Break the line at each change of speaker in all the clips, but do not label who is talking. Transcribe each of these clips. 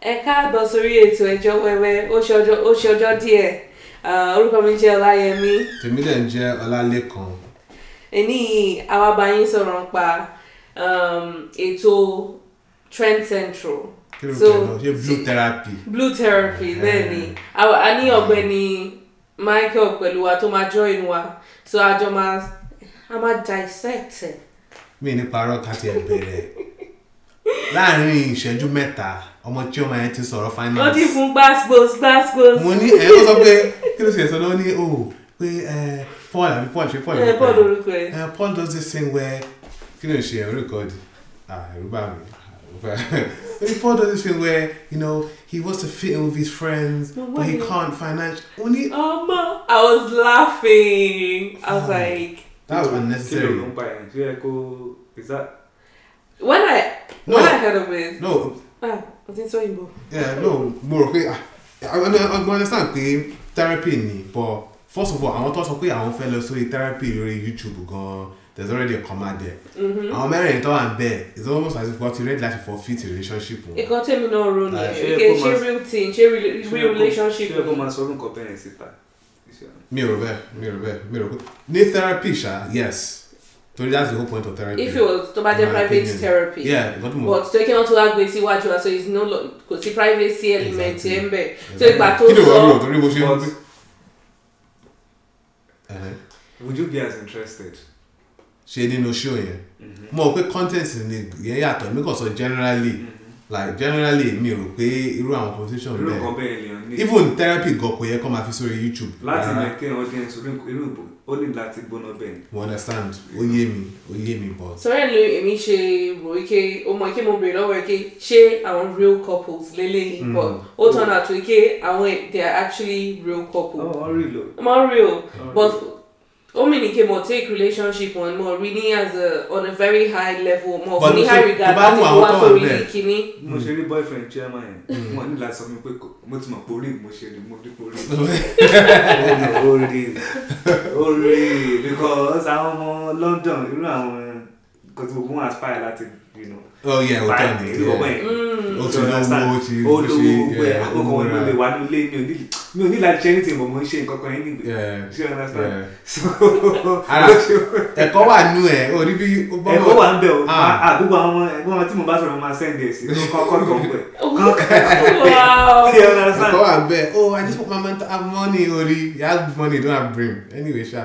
ẹ káàbọ̀ sórí ètò ẹjọ́ wẹ́wẹ́ ó ṣe ọjọ́ ó ṣe ọjọ́ díẹ̀ Ah, orúkọ mi jẹ́ ọláyẹmí
tèmi dẹ̀ ń jẹ́ ọlálẹ́kan
ẹni awábáyín sọ̀rọ̀ ń pa um, ètò trend central
kí ló ń
So-
jẹ́ náà ṣé blue therapy
blue therapy
Eh.
bẹ́ẹ̀ ni a a ní ọ̀gbẹ́ni michael pẹ̀lú wa tó máa join wa so a jọ máa a máa dissect ẹ̀.
mi ní parọ́ ká tiẹ̀ bẹ̀rẹ̀ láàrin ìṣẹ́jú mẹ́ta ọmọ tí ọmọ yẹn ti sọ̀rọ̀
ó ti
finance
fún gbàsgbòs gbàsgbòs.
mo ní ẹ̀ ó sọ pé kí ló sì sọ lọ́wọ́ ní o pé ẹ paul àbí paul ṣe paul
ẹ
ló
bọ́
pẹ̀lú?
lórúkọ ẹ̀.
Eh, paul does this thing where kí ló ń ṣe ẹ̀rọ ìkọ́dì ẹ̀rú bá mi But Paul does this thing where, you know, he wants to fit in with his friends,
No
but he
way.
can't financially. Mo ní
Mama, I was laughing. I was
Fine.
like,
that was
kí ló
unnecessary.
ló ń pa ẹ̀yìn tó yẹ kó is that
when I
No.
when I heard of it,
No,
ah, I think so Igbo.
Yeah, Eh, no, mo rò pé ah, I I- I understand pé therapy ni but first of all àwọn tó sọ pé àwọn fẹ́ lọ sórí therapy lórí YouTube gan there's already a comma there.
Mm-hmm.
Àwọn mẹ́rin tó wà ń bẹ̀ it's almost as if wọ́n ti ready láti forfeit relationship wọn.
Nǹkan tèmi náà ro ni,
Like,
ṣé
eh. okay,
kó
ṣé
máa-
real thing, ṣé re-
ṣé
real
yẹ kó-
relationship
ṣé yẹ kó máa sọ orúkọ bẹ́ẹ̀ síta
Mi ò rò bẹ́ẹ̀, mi ò rò bẹ́ẹ̀, mi ò rò pé ní therapy ṣá yes torí that's the whole point of therapy.
if it was tó bá jẹ́
My
private
opinion.
therapy.
Yeah, nǹkan tó mọ̀.
But tó kí wọ́n tó wá gbé síwájú wa so it's no lo- kò sí privacy element
Exactly.
ẹ̀ ń bẹ̀. So ìgbà tó
Kí ló wọ́n rò
sọ
torí mo ṣe ń
but
gbé. Ẹ̀hẹ́n.
would you be as interested.
Ṣe nínú show yẹn.
Mm-hmm.
Mo rò pé content ni yẹn yàtọ̀ mi kàn sọ generally. like generally mi rò pé irú àwọn conversation
Mm-hmm. irú nǹkan
bẹ́ẹ̀
bẹ́ẹ̀ lèèyàn ní
even therapy gan kò yẹ kó máa fi sórí youtube
láti
Rárá.
maintain audience irú irú ìbò ó ní láti gbóná bẹ́ẹ̀
you understand ó yé mi ó yé mi but
sọ̀rọ̀ ẹ̀ ló èmi ṣe rò wípé ó mọ ike mo bèrè lọ́wọ́ ẹ̀ pé ṣé àwọn real couples lélẹ́yìn
Mm.
but ó turn out wípé àwọn they are actually real couples.
ọ rí lò.
more real but omini ke mo take relationship on more really as a on a very high level more
But
for me
also,
high regard
tó bá
láti
wù
fi
àwọn
wá
tó wà
sórí
níbẹ̀.
kìíní
mo ṣe rí boyfriend chairman yẹn wọn ní láti sọ mi pé kò- mo ti mọ̀ pé orí mo ṣe ni mo dípò orí orí orí because àwọn ọmọ London irú àwọn nǹkan tí gbogbo wọn aspire láti you know,
oh yeah ó tán ni
irú ọmọ
yeah.
yẹn
Mm.
ó ti lówó ó ti
ó lówó
ṣe,
gbẹ
yeah,
àkókò wọn ló lè wà nílé mi ò ní mi ò ní láti ṣe anything but mo ń ṣe nǹkan kan yẹn nígbè
yeah
ṣé o understand
yeah.
so
Ara- ẹ̀kọ́ wà nú ẹ̀ ó rí bí ó bọ́
ẹ̀kọ́ wà ń bẹ̀ o
Ah.
àdúgbò àwọn ọmọ ẹ̀gbọ́n wọn tí mo bá sọ̀rọ̀ máa send ẹ̀ sí kọ́kọ́ tó ń bẹ̀
wow
ṣé o understand
ẹ̀kọ́ wà bẹ́ẹ̀ oh i just want my man to have money orí you have money don't have brain anyway sha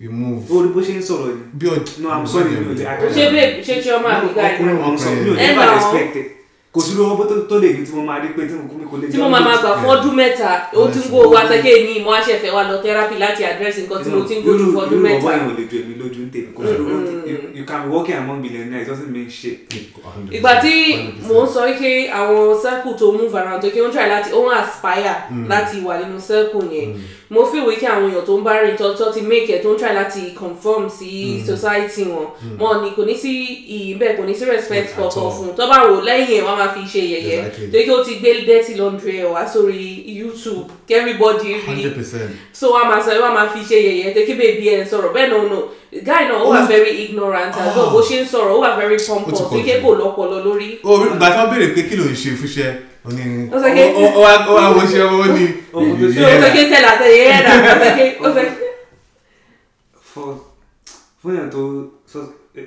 you move
o ní bó ṣe ń sọ̀rọ̀ ni
bí o
Oh, no i'm sorry mi ò lè agree.
ṣé babe ṣé chioma àbí guy
ọkùnrin ọ̀hún sọ mi ò ní
Ẹ
bá
gbà wọ́n.
respect ẹ̀ kò sí lówó tó- tó lè ní tí mo máa rí pé tí mo kú mi kò lè
tí mo máa ma gbà fún ọdún mẹ́ta ó ti ń go owó atẹ́kẹ́ ní ìmọ̀ àṣẹfẹ́ wa lọ therapy láti address nǹkan tí mo ti ń go jù fún ọdún mẹ́ta Mm,
ìwọ̀n lè ju èmi lójú ń tèmi kò sí lówó tó- you- you can be working among billionaires doesn't mean shit.
ìgbà tí mò ń sọ pé àwọn circle tó move around tó kí wọ́n try láti ó ń aspire
Hmm.
láti wà nínú circle yẹn mo fi wí kí àwọn èèyàn tó ń bá rìn tó tó ti make ẹ̀ tó ń try láti conform sí
Hmm.
society wọn wọn ni kò ní sí iyì bẹ́ẹ̀ kò ní sí respect
At all.
kankan fún un tó bá wò ó lẹ́yìn ẹ̀ wọ́n á máa fi ṣe yẹ̀yẹ́
Exactly.
tó kí ó ti gbé dirty laundry ẹ̀ wá sórí YouTube kí everybody rí
hundred percent
so wọ́n á máa sọ wọ́n á máa fi ṣe yẹ̀yẹ́ tó kí bèbí ẹ̀ sọ̀rọ̀ bẹ́ẹ̀ náà no guy náà ó wà
Oh.
very ignorant as well
Oh.
bó ṣe ń sọ̀rọ̀ ó wà very pompous
pọ̀
tó kí
jù.
kò lọ́pọlọ lórí
o ìgbà tí wọn béèrè pé kí ló ń ṣe fúnṣẹ o ní
Ó sọ pé-
o o wa- o wa wo ṣe o ní
Ọmọ tó ṣe-
So o sọ pé tẹ́lẹ̀ àtẹ̀yẹ yẹn dà o sọ pé o sọ pé
for fún yàn tó so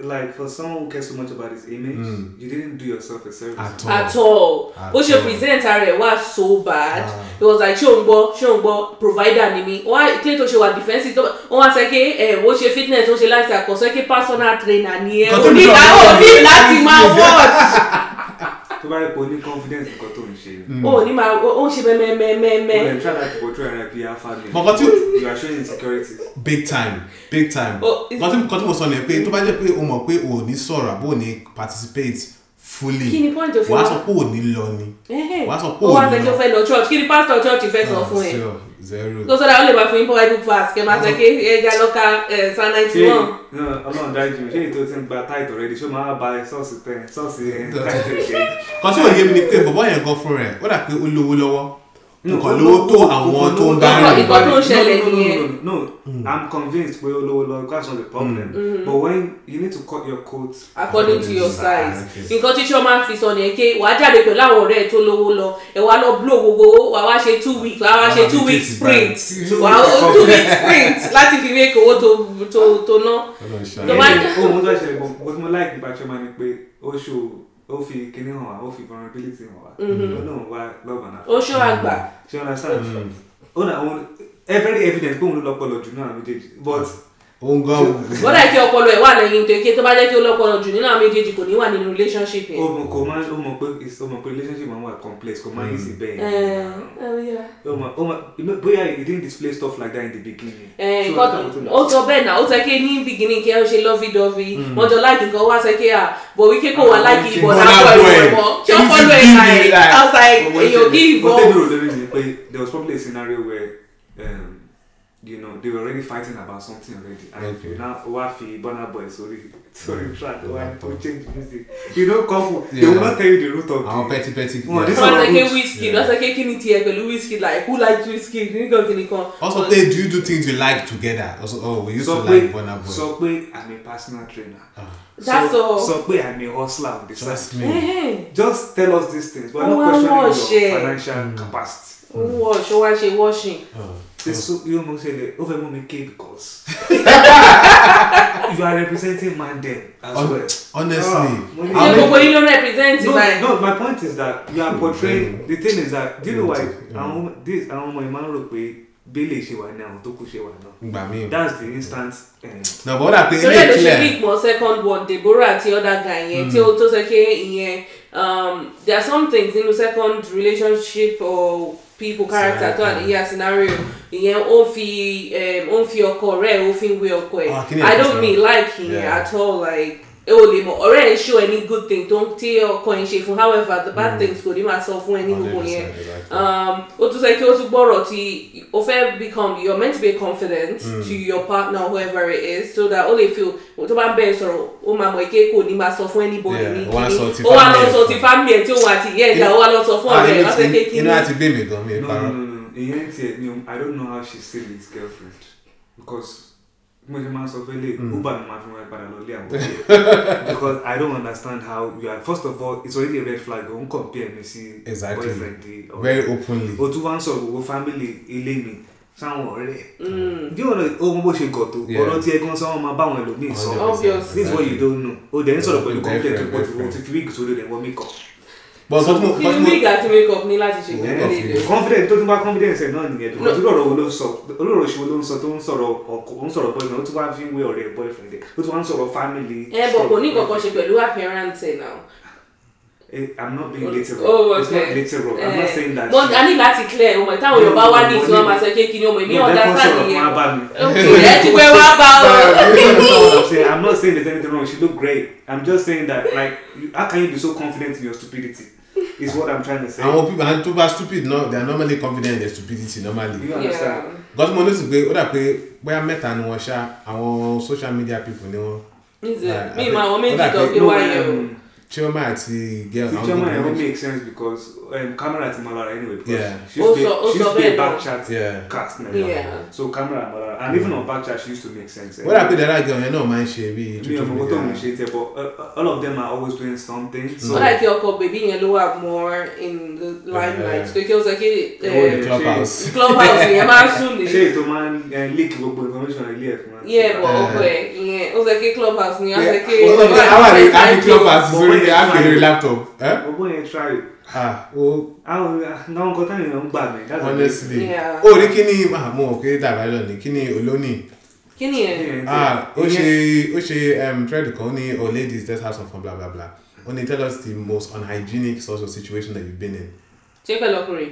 like for someone who cares so much about his image
Mm.
you didn't do yourself a service.
At all.
at all
At
bó ṣe
all.
present ara ẹ̀ wá so bad
Ah.
it was like ṣé o ń gbọ́ ṣé o ń gbọ́ provider ni mi wá kílẹ̀ tó ṣe wà defensive tó wọ́n á sọ pé ẹ̀ o ṣe fitness o ṣe láti àkọsọ́ pé personal trainer ni ẹ̀
Nǹkan
o
tó
ní
ń sọ
ìlà- o
fún
ní
mi.
láti máa watch
tó bá yẹ kó ní confidence nǹkan tó ń ṣe ni.
o ní máa o ń ṣe
o
mẹ́mẹ́mẹ́mẹ́
lè try láti portray ara bí a family.
Mọ̀kọ́ tí-
but you are showing insecurity.
big time big time
Oh, it's-
nǹkan tí nǹkan tí mo sọ ni pé tó bá jẹ́ pé o mọ̀ pé o ò ní sọ̀rọ̀ àbó o ní participate fully
Kí ni point of view
wàá
wa?
sọ pé o ní lọ ni Wàá sọ pé Ah,
o wá
òun
sọ pé o
náà.
fẹ́ lọ church kí ni pastor church fẹ́ sọ fún ẹ
Zero, zero
tó sọ́dọ̀ àwọn lè máa fún yín bọ́ bible verse kẹ́ máa sọ pé ẹ̀ jà lọ́ka ẹ̀ san ninety
ṣé
one.
no, ọlọ́run dájú mi ṣé èyí tó ti ń gba tight already ṣé o máa ba ṣọ́ọ̀ṣì tẹ ṣọ́ọ̀ṣì tight rẹ̀ jẹ́.
kan tí ò yé mi ni pé bọ̀bọ̀ yẹn gan fún rẹ̀ ó dà pé ó lówó lọ́wọ́ ó nǹkan lówó tó àwọn tó ń bá
Nǹkan-
rìn
nǹkan tó ń
báyìí.
ṣẹlẹ̀
No, no, no,
nìyẹn. Mm.
no, no, no. i'm convinced pé olówó lọ that's not the problem but when you need to cut your coat
according to your
Ah,
size
okay.
nǹkan tí sọ́mà fi sọ nìyẹn pé wàá jáde pẹ̀lú àwọn ọ̀rẹ́ ẹ̀ tó lówó lọ ẹ̀ wàá lọ blow gbogbo owó, wàá wá ṣe two weeks wàá wá ṣe two weeks sprint wàá ó two weeks sprint láti fi make owó tó tó tó ná
Ọlọ́run ṣàánú.
Tó bá-
ó mú tó ṣẹlẹ̀ bọ̀ bó tí oh, mo like nípa Chioma ni pé ó ṣó ó fi kíní hàn wá ó fi vulnerability hàn wá
Mm-hmm.
ó náà wá lọ́ọ̀bà náà
ó ṣọ́ àgbà
ṣé wọn understand ó náà òun every evidence pé òun ló lọ́pọ̀lọ̀ jù náà méjèèjì but
ó ń gan
wọ́n dà kí ọpọlọ ẹ̀ wà lẹ́yìn tó ké tó bá jẹ́ kí ó lọ́pọlọ jù nínú àwọn méjèèjì kò ní wà nínú relationship
ó
yẹn.
mọ̀ kò máa ó mọ̀ pé ó mọ̀ pé relationship máa ń wà complex kò máa ń easy bẹ́ẹ̀
Eh.
ó mọ̀ ó mọ̀ bóyá he didn't display stuff like that in the beginning
Eh,
So,
nǹkan
that was
ó sọ bẹ́ẹ̀ náà ó sọ pé ní beginning kí ẹ ṣe lọ́fídọ́fí
Hmm.
wọ́n jọ láìkì nǹkan wá sọ pé "Ah, à bọ̀ wí kékòó
Ah,
wá láìkì ìbọn
Bọ́lá
náà pọ̀
boy.
ẹ̀ mọ́ ṣé ó
Easy
fọ́lọ́ ẹ̀
gidi
náà ẹ̀
like-
outside
But what
èyàn
they-
kí
What they
ìbọn.
were doing is like, there was probably a scenario where, um, you know, they were already fighting about something already, and
Okay.
now Wafi, Burna Boy, sorry, sorry, track,
Yeah.
why to change music? You know, couple, they will
Yeah.
not tell you the root of
àwọn
the.
pẹ́típẹ́tí.
Wọ́n
wọ́n
this
sọ
one
pé
good.
wíṣkì
Yeah.
wọ́n sọ pé kí ni tiẹ̀ pẹ̀lú wíṣkì like who likes wíṣkì nǹkan kìíní kan.
wọ́n sọ pé do you do things you like together? Also, oh, we used
Sọ
to
pé
like Burna Boy.
sọ pé I'm a personal trainer.
That's
Sọ-
all.
Sọ pé I'm a hustler on the
Trust
side.
me.
Ẹ̀hẹ́n,
Just tell us these things. We're
Oh,
not
I want
questioning your
share.
Mm.
financial capacity.
ó wọ ọ̀ṣọ́ wá ṣe washing.
Oh.
This so you almost said it over me K because you are representing Mandem as
Hon-
well.
Honestly,
Oh,
ṣé
I'll
I
gbogbo yín ló represent
No,
báyìí.
no, my point is that you are portraying
Mm.
the thing is that do you know why
Mm.
àwọn this àwọn ọmọ ìmọ̀ rò pé bẹ́lẹ̀ ṣe wà ní àwọn tó kù ṣe wà náà.
gbà mí.
That's the instant. Um,
na but that thing
torí ẹ̀ ló
dey
ṣe bí
clear.
ìgbọ̀n second one Deborah àti other guy yẹn tí ó tó sọ pé ìyẹn um, there are some things nínú second relationship or people character tó àdéhìí à scenario ìyẹn ó fi um, ó fi ọkọ rẹ̀ ó fi ń wé ọkọ ẹ̀
Ah, kí ni
I
ẹ̀kọ́
don't
sọ?
mean like ìyẹn
Yeah.
at all like ẹ ò lè mọ ọ̀rẹ́ ẹ̀ show any good thing tó ń tí ọkọ ẹ̀ ń ṣe fún however the
Hmm.
bad things kò ní máa sọ fún ẹ ní gbogbo yẹn um, o tún sọ pé o tún gbọ́rọ̀ tí o fẹ́ become you are meant to be confident
Hmm.
to your partner whoever it is so that o lè feel o tó bá ń bẹ̀rẹ̀ sọ̀rọ̀ o máa mọ̀ ike kò ní máa sọ fún anybody
Yeah,
ní
o wá sọ
kíní
ti
o wá lọ
family ẹ̀
sọ ti family ẹ̀ tí òun àti ìyá ẹ̀dá o wá lọ sọ fún
Ah,
ọ̀rẹ́
Ah,
ẹ̀ lọ́sẹ̀ kékeré
inú àti bèbè gan mi
no, no,
parọ́.
no, no. Ìyẹn tiẹ̀ ni o- I don't know how she still is girlfriend because mo ṣe máa ń sọ pé lè
Hmm.
uber ni màá fi wọn padà lọ lé àwọn ọ̀rẹ́. because I don't understand how you are first of all it's already a red flag o n compare mi sí
Exactly.
boyfriend di ọ̀rẹ́.
very openly.
o tún wá ń sọ gbogbo family ilé mi sáwọn ọ̀rẹ́ ẹ̀ bí ọ̀rọ̀ ohun bó ṣe gọ̀ tó
Yeah.
ọ̀rọ̀ tí ẹ̀gbọ́n sáwọn máa báwọn ẹlòmíì sọ
Obvious.
this is what you don't know o dẹ̀ ń sọ̀rọ̀ pẹ̀lú
Different,
complaint pé o
different.
ti fi wig sórí rẹ̀ wọ́n mi kọ̀
but but mo
kí ni
but
wig àti make up ní láti ṣe
Yeah.
kẹ́kẹ́ lè
confidence tó tún bá confidence ẹ̀ náà nìyẹn tó tún lọ́rọ̀ wo ló ń sọ olóòrò ṣe wo ló ń sọ tó ń sọ̀rọ̀ ọkọ ó ń sọ̀rọ̀ boyfriend ó tún wá fi ń wé ọ̀rẹ́ boyfriend ẹ̀ ó tún wá ń sọ̀rọ̀ family
ẹ bọ̀ Eh, kò ní kankan ṣe pẹ̀lú appearance ẹ̀ náà.
Eh, I'm not being literal
Oh,
it's not
okay.
literal I'm
Eh,
not saying that
but a ní láti clear ọmọ ìtàwọn Yorùbá wá ní ìtura màá sọ kékeré ní ọmọ ìmí
no
ọ̀dà
that
sáà
sọ̀rọ̀
nìyẹn.
máa bá mi
ok ẹ ti pẹ́ wá bá ọ.
I'm saying- I'm not saying there's anything wrong. She looked great. I'm just saying that, like, you- how can you be so confident in your stupidity? Is what I'm trying to say.
àwọn people and tó bá stupid náà they are normally confident in their stupidity normally.
You
Yeah.
understand?
because mo notice pé ó dà pé bóyá mẹ́ta ni wọ́n ṣá àwọn social media people ni wọ́n
Nze,
Like, I
mi
think-
ma wọn méjì
Kodak
kan
ni-
pé
No,
wáyé o.
um,
Chioma àti girl
the
àwọn
German it
gbogbo
won't
méjì.
make sense because um, camera at Malara anyway. Because
Yeah.
She used to
Also-
be, she used
also
to be a
very
back
bad.
chat
Yeah.
cast member.
Yeah.
So camera at Malara, and even on back chat, she used to make sense.
ó dà pé dára girl yẹn náà máa ń ṣe bí
Me and Momoto initiated, but uh, all of them are always doing something. So
So like your ọkọ bèbí yẹn ló wà more in the limelight.
Yeah. Oh,
Tó kí o sọ kí
Yeah,
eh,
yeah.
clubhouse.
clubhouse yẹn máa ń sùn ní.
she to man uh, leak gbogbo information I leak man.
Yẹ bọ̀
Yeah.
ọkọ ẹ̀ ìyẹn o sọ kí clubhouse ni a sọ
Yeah,
kí.
ó sọ pé àwọn àrè àfi clubhouse
But
sórí
when
rẹ̀ àfi
you
eré
try-
laptop. Eh?
Gbogbo yẹn try it.
ah o
àwọn àwọn nǹkan táwọn èèyàn ń gbà mí that's the thing.
honestly
Yeah.
ó rí kí ni ah, mo ò kéré dàbá lọ ní kí ni olóní
Kí ni yẹn?
ah ó
Ìyẹn-
ṣe ó ṣe um, thread kan ó ní oh ladies let's have some fun bla bla bla ó ní tell us the most unhygienic social situation that you've been in
Ṣé pẹ̀lú ọkùnrin?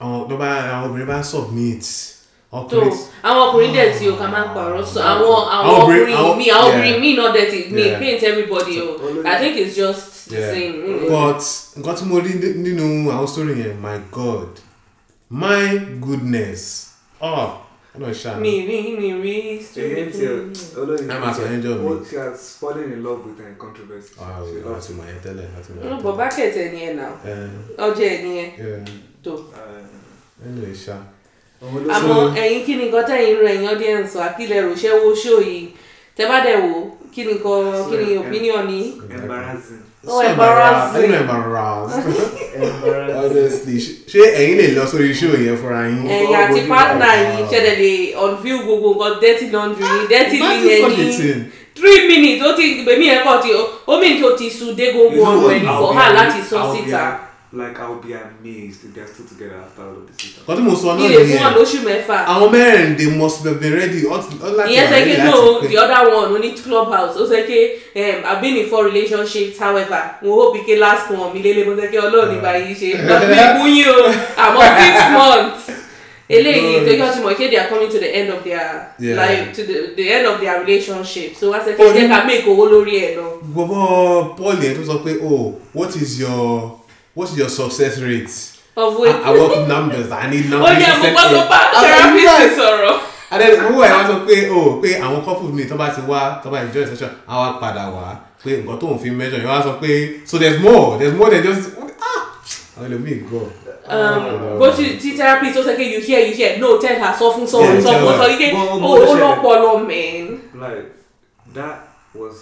àwọn ló bá àwọn obìnrin bá submit
tó
ọkùnrin
àwọn ọkùnrin dẹ̀ tí o kà máa ń pààrọ̀ sọ àwọn àwọn
Oh, Àwọn
ọkùnrin
obìnrin- àwọn-
mi àwọn
yeah.
obìnrin mi náà dẹ̀ ti mi
Yeah. oh,
paint everybody o.
olórí-
I think it's just the
Yeah.
same. Mm.
but nǹkan tí mo rí ní- nínú àwọn story yẹn my god my goodness oh ọlọ́run ṣáà
Mi rí mi rí.
ìyẹn ti ẹ-
Mm.
olóyìn
Ẹ máa sọ yẹn jọ mi. Ah,
Ó- she has fallen in love with her controversy She
wow
loves
àti
it.
mọ̀ ẹ́ tẹ́lẹ̀ àti mọ̀ ẹ́
Bọ̀ bákẹ́tì ẹ̀ ni ẹ̀ nà
tẹ́lẹ̀.
ọjọ́ ẹ̀ ni ẹ̀
Eh, yeah.
tó.
Uh,
anyway ṣá
ọmọ ló
àmọ́ ẹ̀yin kí ni nǹkan tẹ̀yìn rẹ̀ yan díẹ̀ ń sọ àkílẹ̀ rò ṣẹ́ wo ṣó yìí tẹ́ bá dẹ̀ wò kí ni nǹkan kí ni opinion ni.
embarrassing
Oh, embarrassing.
ẹnu embarrassing
embarrassing
honestly ṣé- ṣé ẹ̀yin lè lọ sórí show yẹn fúnra yín.
ẹ̀yin àti
Oh,
partner yìí
wow.
ṣẹlẹ̀ lè unveil gbogbo nǹkan dirty laundry yìí dirty
Imagine
linen
such a
yìí
thing.
three minutes ó ti gbèmí ẹ̀ kọ́ ti omi tó ti sùn dé gbogbo ọ̀rọ̀ ẹ̀ nìkan hà láti sọ síta
like I'll be amazed if they're still together after all of this shit
kọ́tí mo sọ náà
ilé fún wọn
nìyẹn
lóṣù mẹ́fà
àwọn mẹ́rin they must have been ready ọt- ọ láti
ìyẹn
wà
sẹ́
ready
ké
láti
no
pay.
the other one oní clubhouse ó sẹ́ ké um, i been in four relationships however mo hope ike last one mi lélẹ̀ mo sẹ́ ké ọlọ́run ní báyìí ṣe
Ah.
lọ́dún ìbúyín o àmọ́ six months eléyìí tó yọ ti mọ̀ ké they are coming to the end of their
Yeah. Oh,
life to the, the end of their relationship so wá sẹ́ ké jẹ́ ká make owó lórí ẹ̀ lọ.
gbogbo paul yẹn tó sọ pé oh what is your what is your success rate
of
I,
wey
I want numbers I need
ó
numbers.
yẹ mo gbọ́ tó bá
I was like,
therapist sọ̀rọ̀.
and then owó ẹ̀ wá sọ pé o pé àwọn couple mi tó bá ti wá tó bá enjoy session á wá padà wá pé nǹkan tóun fi measure yẹn wá sọ pé so there's more there's more than just ah àwọn ẹlòmíì gọ.
um, go to the therapist so say okay you hear you hear no tell her sọ fún sọ fún
Yeah,
sọ
tell
fún "Oh,
her.
sọ ike
Well,
o
well,
o
she-
lọpọlọ mẹ́n.
like that was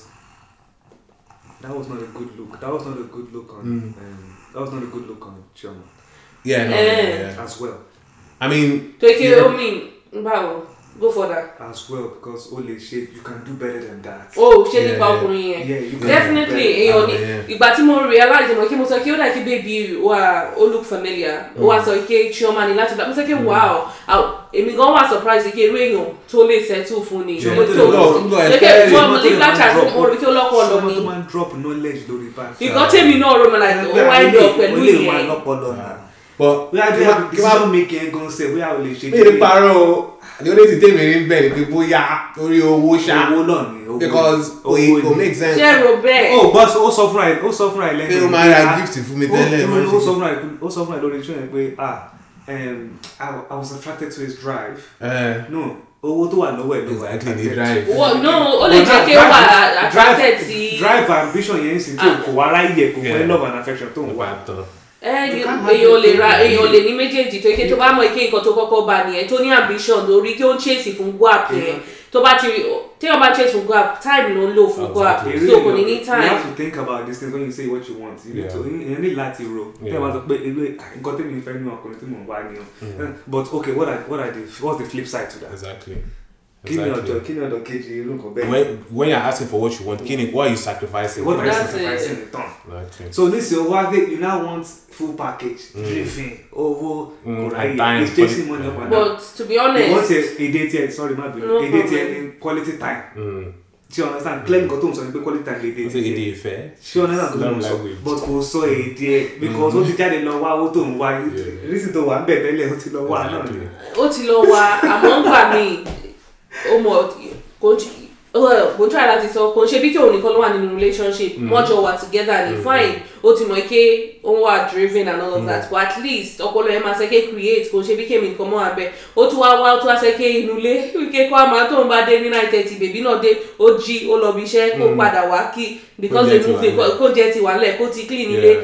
that was not a good look that was not a good look on
Mm.
um, that was not a good look on Chioma
yeah, no,
Eh.
yeah, yeah.
as well
I mean
to ike
Yeah.
omi báwo go further.
as well because ole shit you can do better than that
o ṣe
Yeah,
nípa
yeah.
ọkùnrin yẹn
yeah you can
definitely
do
èèyàn ní
Yeah.
ìgbà tí mo realize mo kí mo sọ kí ó dà kí baby wa ó look familiar ó wá sọ ike chioma ni láti dá mo sọ kí wow ah, èmi gan wà surprise ike irú èèyàn tó lè settle fún ni
Yeah,
mo
tó lè
tó
lọ- tó
ike
lọ expect
mo
it,
mo
tó lè
ní láti
máa
àgbo
drop.
mo rí kí ó lọ́pọ̀ lọ
Someone
ni
tó máa ń drop knowledge lórí back.
ìgbọ́n tèmi náà rò mọ́ like ó wá ẹ̀dọ̀ pẹ̀lú ìyẹn.
but
Bóyá
kí wá- kí
kí wá
wá
mi kí ẹ gan ṣe bóyá o lè ṣe
mi ní parọ́ o the only thing tèmi rí bẹ́ẹ̀ ni pé bóyá torí owó ṣá
owó náà ni owó
because
owó
oye kò
ni.
make sense.
ṣé ro bẹ́ẹ̀.
Oh boss ó sọ fúnra ẹ ó sọ fúnra ẹ lẹ́nu.
pé o máa ra gift fún mi tẹ́lẹ̀ máa ń
Ó sọ
ṣe.
fúnra ẹ ó sọ fúnra ẹ lórí iṣẹ́ yẹn pé ah um, I wa- I was attracted to his drive.
Eh,
No owó tó wà lọ́wọ́ ẹ̀ ló wà
exactly the
attracted.
drive.
Wọ- no ó lè
But
jẹ́
drive-
kí ó wà
drive-
attracted
drive-
sí. Ah.
Drive and ambition yẹn sì tó kò wá láyè kò
Yeah.
fẹ́ love and affection tó ń wá.
ẹni
You can't have
Eh, èèyàn ò lè
it
ra
both ways.
èèyàn ò lè ní méjèèjì tó ike tó bá mọ ike nǹkan tó kọ́kọ́ bá nìyẹn tó ní ambition lórí kí ó ń chase fún guap yẹn tó bá ti téèyàn bá chase fún guap time ló ń lò fún guap
You
so
really
kò ní
know-
ní
You
time
have to think about these things when you say what you want. You need
Yeah.
to you need láti ro. Tẹ́ ẹ bá sọ pé ewé nǹkan tẹ́mi ìfẹ́ nínú ọkùnrin tí mò ń wá ni o.
Mm.
Eh, But okay, what are what are the what's the flip side to that?
Exactly.
Kí ni
Exactly.
ọ̀dọ̀ kí ni ọ̀dọ̀ kejì irú nǹkan bẹ́ẹ̀?
When when you're asking for what you want, kí ni what are you sacrificing?
What are you
That's it.
sacrificing in return?
Exactly.
So nísìnyí wá dé you now want full package,
Mm.
drifting, owó,
Mm,
kò
and
ráyè,
time,
he's chasing
quality-
money up and down.
but to be
You want
honest
a èdè tiẹ̀ sorry má bínú
No
èdè tiẹ̀
problem.
ní quality time.
Mm.
Do you understand? Clear nǹkan tó ń sọ ni pé quality time lè dé
Is it èdè ìfẹ́?
ṣé ọ̀nà náà tó ń
Love
sọ
language. Mm.
but kò sọ èdè ẹ̀ because ó ti jáde lọ wá owó tó ń wá
Yeah.
rísì tó wà ń bẹ̀ tẹ́lẹ̀ ó ti lọ wá náà
Exactly.
ó ti lọ wá àmọ́ ń gbà mí ó mọ̀ kò ń ṣe- well, kò ń try láti sọ kò ń ṣe bí kí òun nìkan ló wà nínú relationship
Mm.
wọ́n jọ wà together ni
Mm-hmm.
fine ó ti mọ̀ pé ó ń wà driven and
Mm.
all of that but at least ọpọlọ ẹ máa ṣe ké create kò ń ṣe bí kémi nìkan mọ́ abẹ ó tún wá wá ó tún wá ṣe ké inú ilé wíkẹ́ kó àmọ́ tóun bá dé ní nine thirty bèbí náà dé ó jí ó lọ bí iṣẹ́ kó padà wá kí because
Mm. jẹ
they move
tiwa
the- kó jẹ tiwa lẹ̀ kó ti clean ilé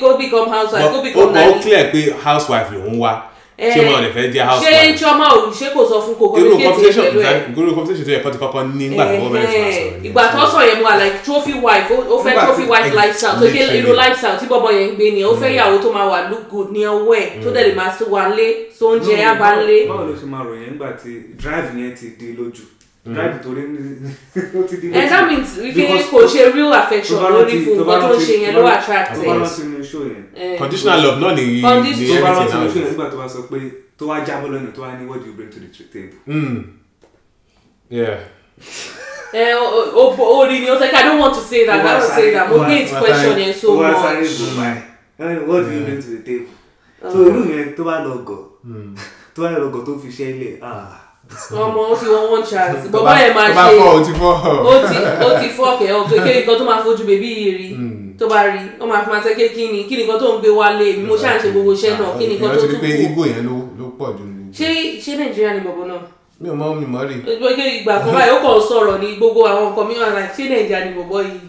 kó become housewife kó
Ó
become
mọ̀ ó
nanny
clear pé housewife lòun wá.
Eh,
Ṣé wọn ò lè fẹ́ jẹ́
ṣé
housewife?
chioma olùṣe kò sọ fún kókó
Irú
kékeré
conversation
pẹ̀lú ẹ̀.
irú conversation tó yẹ kọ́ ti kọ́kọ́ ní nígbà tó wọ́n bẹ̀rẹ̀ sí máa sọ̀rọ̀
Ẹ̀hẹ́n.
nìyẹn.
ìgbà tó sọ yẹn mo wà like trophy wife ó ó fẹ́
Nígbà
trophy
tí-
wife
ex-
lifestyle tó ṣe irú
literally.
lifestyle tí bọ́bọ́ yẹn ń gbé ni ó fẹ́ ìyàwó tó máa wà look good ní ọwọ́ ẹ̀ tó dẹ̀ lè máa sọ wà lé tó ń jẹ yá bá ń lé.
báwo ló ṣe máa ròyìn nígbà tí drive yẹn ti di lójú
Mm.
drive torí ní- ó ti di
and Eh, that means wípé
Because-
kò ṣe real affection lórí fún nǹkan tó ń ṣe yẹn ló attract Eh.
tó
ẹ̀.
bá rántí inú iṣó yẹn
Ẹ̀hẹ́n.
Conditional love náà ni ni
Condi-
tó bá rántí
everything
inú iṣó yẹn
now.
nígbà tó bá sọ pé tó wá jábọ́ lọ́nà tó wá ní what do you bring to the table
Mm. Yeah.
Ẹ̀, eh, o- o- o- o rí ni ó sọ pé i don't want to say that i don't say that mo hate question yẹn so
tó wá sáré
much.
gùn báyìí what do you bring to the table so inú yẹn tó bá lọ gọ̀
Hmm.
tó bá lọ gọ̀ tó fi ṣẹ́lẹ̀ ah
ọmọ ó ti wọ́n one chance
Tó
bọ́bọ́ yẹn máa
tó bá
ṣe.
fọ́ o ti fọ́
ó ti ó ti fọ́ọ̀kẹ́ ó pé kí nǹkan tó máa fojú bèbí yìí rí
Hmm.
tó bá rí ó máa fi máa ṣe kí ni kí nǹkan tó ń gbé wálé mi mo ṣáà ń ṣe gbogbo iṣẹ́ náà
Ah,
kí nǹkan tó
ìrántí
tún
pé
kù.
igbó yẹn ló ló pọ̀ jù ní gbogbo.
ṣé ṣé nàìjíríà ni bọ̀bọ̀ náà
mi ò mọ mi mọ
Hmm.
rí.
gbogbo ìgbà kan báyìí ó kàn sọ̀rọ̀ ní gbogbo àwọn nǹkan mi ọ̀la ṣé nàìjíríà ni bọ̀bọ̀ yìí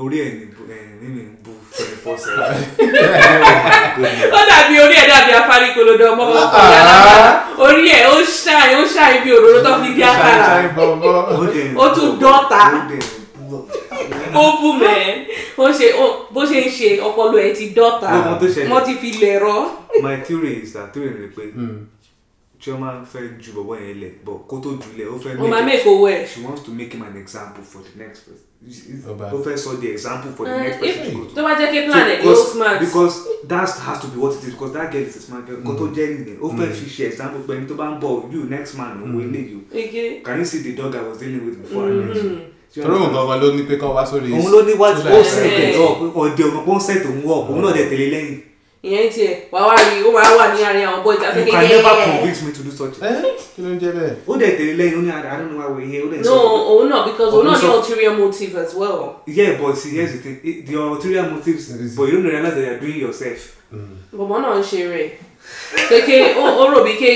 orí ẹ̀ ní bu ẹ̀ nínú ìbu twenty four seven. Goodness.
ó dàbí orí ẹ̀ dàbí afárikolodo ọmọ ọkùnrin
Ah.
alábàá orí ẹ̀ ó ṣàì ó ṣàì bí òróró tó fi dí àkàrà
Ṣáì bọ̀bọ̀.
Ó dẹ̀ ń
Ó tún
bú ọ.
dọ́ta.
Ó dẹ̀ ń bú ọ.
ó bù mẹ́ ó ṣe ó- bó ṣe ń ṣe ọpọlọ ẹ̀ ti dọ́ta
Ọmọ tó ṣẹlẹ̀.
wọ́n ti fi lẹ̀ rọ.
My theory is that theory ni pé
Hmm.
Chioma fẹ́ ju bọ̀bọ̀ yẹn lẹ̀ but kó tó ju lẹ̀ ó fẹ́
ó máa
make it-
mẹ́kò owó ẹ̀.
she wants to make him an example for the next person.
Ó bá-
Ó fẹ́ sọ the example for the
Eh,
next person to go to.
tó bá jẹ́ kí
So
plan ẹ̀ ló
because-
smart.
because that has to be what it is because that girl is a smart girl nǹkan tó jẹ́ nìyẹn ó
Mm.
fẹ́ fi ṣe example pé ẹni tó bá ń bọ̀ you next man òun eléyìí o
Ege.
can you see the dog I was dealing with before I met you? Do you
Torí òun
understand?
gangan ló ní pé kọ́ wá sórí.
òun ló ní wá
sórí
ó
àṣẹ.
set ẹ̀ up ọ̀dẹ̀ ọmọ pé ó set òun up òun náà dẹ̀ tẹ̀lé lẹ́yìn
ìyẹn tiẹ̀ wàá wá rí ó máa wà ní àárín àwọn bọ́ọ̀dì
you
àtẹ́kẹ́
can never convince me to do such a
Eh,
Ẹ́, Kí ló ń jẹ́ bẹ́ẹ̀?
ó dẹ̀ tẹ̀lé lẹ́yìn ó ní I I don't know why we're here ó dẹ̀
no
sọ
òun náà because òun
Òun
náà ní
sọ-
ulterior motive as well.
yeah but see here's the thing it- the ulterior motives
Is-
but you don't realize that you're doing it yourself
bọ̀bọ̀ náà ń ṣe rẹ̀ kéke ó ó rò bí ké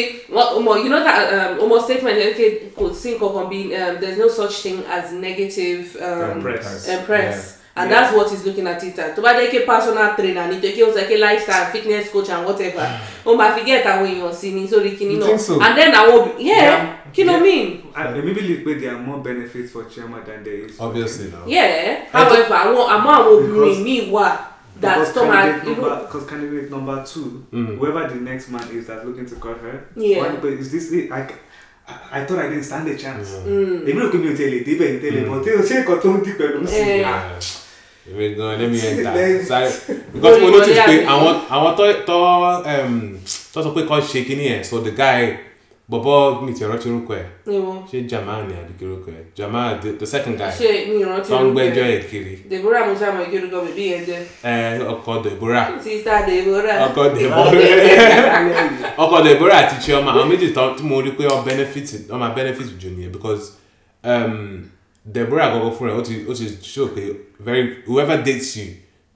ọmọ you know that um, ọmọ statement yẹn ké kò sí nǹkan kan bí um, there is no such thing as negative um,
Impress.
impress and
Yeah.
that's what he's looking at it as tó bá jẹ́ ké personal trainer ni tó ké ó sọ ké lifestyle fitness coach and whatever ó máa fi get àwọn èèyàn sí ni sórí kíní
You
náà
think so?
and then àwọn obì yeah
Yeah.
kí ló
Yeah.
mean
I maybe believe pé there are more benefits for chairman than there is for-
Obviously na.
yeah however àwọn àmọ́ àwọn obìnrin
Because-
míì wà that
Because
tó máa
candidate number because candidate number two, whoever the next man is that's looking to cut her,
Yeah.
one- but is this it? I, I, I thought I didn't stand a chance.
Mm.
Èmi rò pé mi ò tẹ̀lé débẹ̀ ní tẹ́lẹ̀ bọ̀ tí o ṣe nǹkan tó ń di pẹ̀lú
eh,
sí i.
Yeah.
Ah,
èmi gan lẹ́mi ẹ̀ta
Lẹ́yìn-
sáré because mo
Lórí
notice
wọlé
pé
àbí?
àwọn àwọn tó tó um, tó sọ pé kọ́ ṣe kínní ẹ̀ so the guy bọ̀bọ̀ mi ti rántí orúkọ ẹ̀
ní wọn
ṣé Jamal ni àbí kí orúkọ ẹ̀ Jamal the, the second guy
ṣe mi ìrántí
tó ń gbẹ́jọ́
rẹ̀.
ẹ̀ kiri
Deborah Musa mọ̀ ìkíni kan bèbí yẹn jẹ́.
ẹ ọkọ Deborah
Sista Deborah.
ọkọ Deborah ọkọ Deborah àti Chioma àwọn méjì tán tí mo rí pé ọ benefit ọ máa benefit jù nìyẹn because um, Deborah gọgọ fúnra ẹ̀ ó ti ó ti show pé very whoever dates you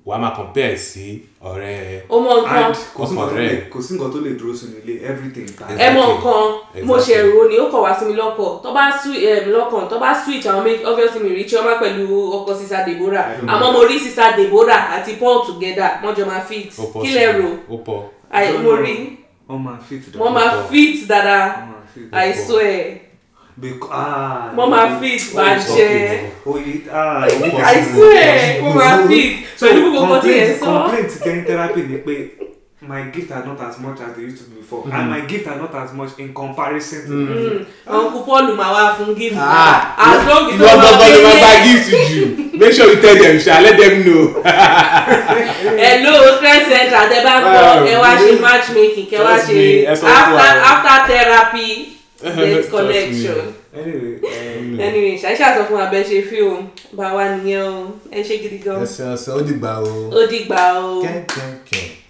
wàá máa compare sí ọ̀rẹ́ ẹ̀.
Ó mọ nǹkan.
and kò sí nǹkan tó
Ọkọ
lè
rẹ̀.
kò sí nǹkan tó lè dúró sínú ilé everything ta.
Ẹ mọ nǹkan. Mo ṣe
Exactly.
ro ni ó kọ̀ wá sí mi lọ́kọ̀. Tó bá sú um, lọ́kàn tó bá switch àwọn méjì obviously mi rí Chioma pẹ̀lú ọkọ Sista Deborah. Àmọ́ mo rí Sista Deborah àti Paul together. Wọ́n jọ máa fit.
Ó pọ̀
Kí
sí
lẹ
i.
rò?
ó pọ̀
Àì mo rí.
Wọ́n máa fit dàgbà.
Wọ́n máa fit dáadáa.
Wọ́n máa fit
I swear.
Because ah.
Wọ́n máa fit bàjẹ́.
Oye ah.
I swear. Wọ́n máa fit. Pẹ̀lú gbogbo nǹkan tí ẹ sọ.
complaint ten therapy ni pé my gift are not as much as they used to be before mm. and my gift are not as much in comparison to mm.
Mm. Àwọn kú Paul máa wá fún gift.
Ah.
As long as
ìwọ gbọgbọ ló máa
pay
bá
yẹn.
gift jù make sure you tell them sha let them know.
Mm. hello trend center tẹ bá gbọ́ ẹ wá ṣe matchmaking kẹ wá
Trust me,
ṣe
ẹ sọ fún
after
wa.
after therapy
Trust
get
me.
connection
anyway um,
anyway ṣàṣà sọ fún wa bẹ ṣe fi o bá wa nìyẹn o ẹ ṣe gidi gan
Ẹsẹ̀ ọ̀sẹ̀ ó dìgbà o.
ó dìgbà o
Kẹ́kẹ́kẹ́.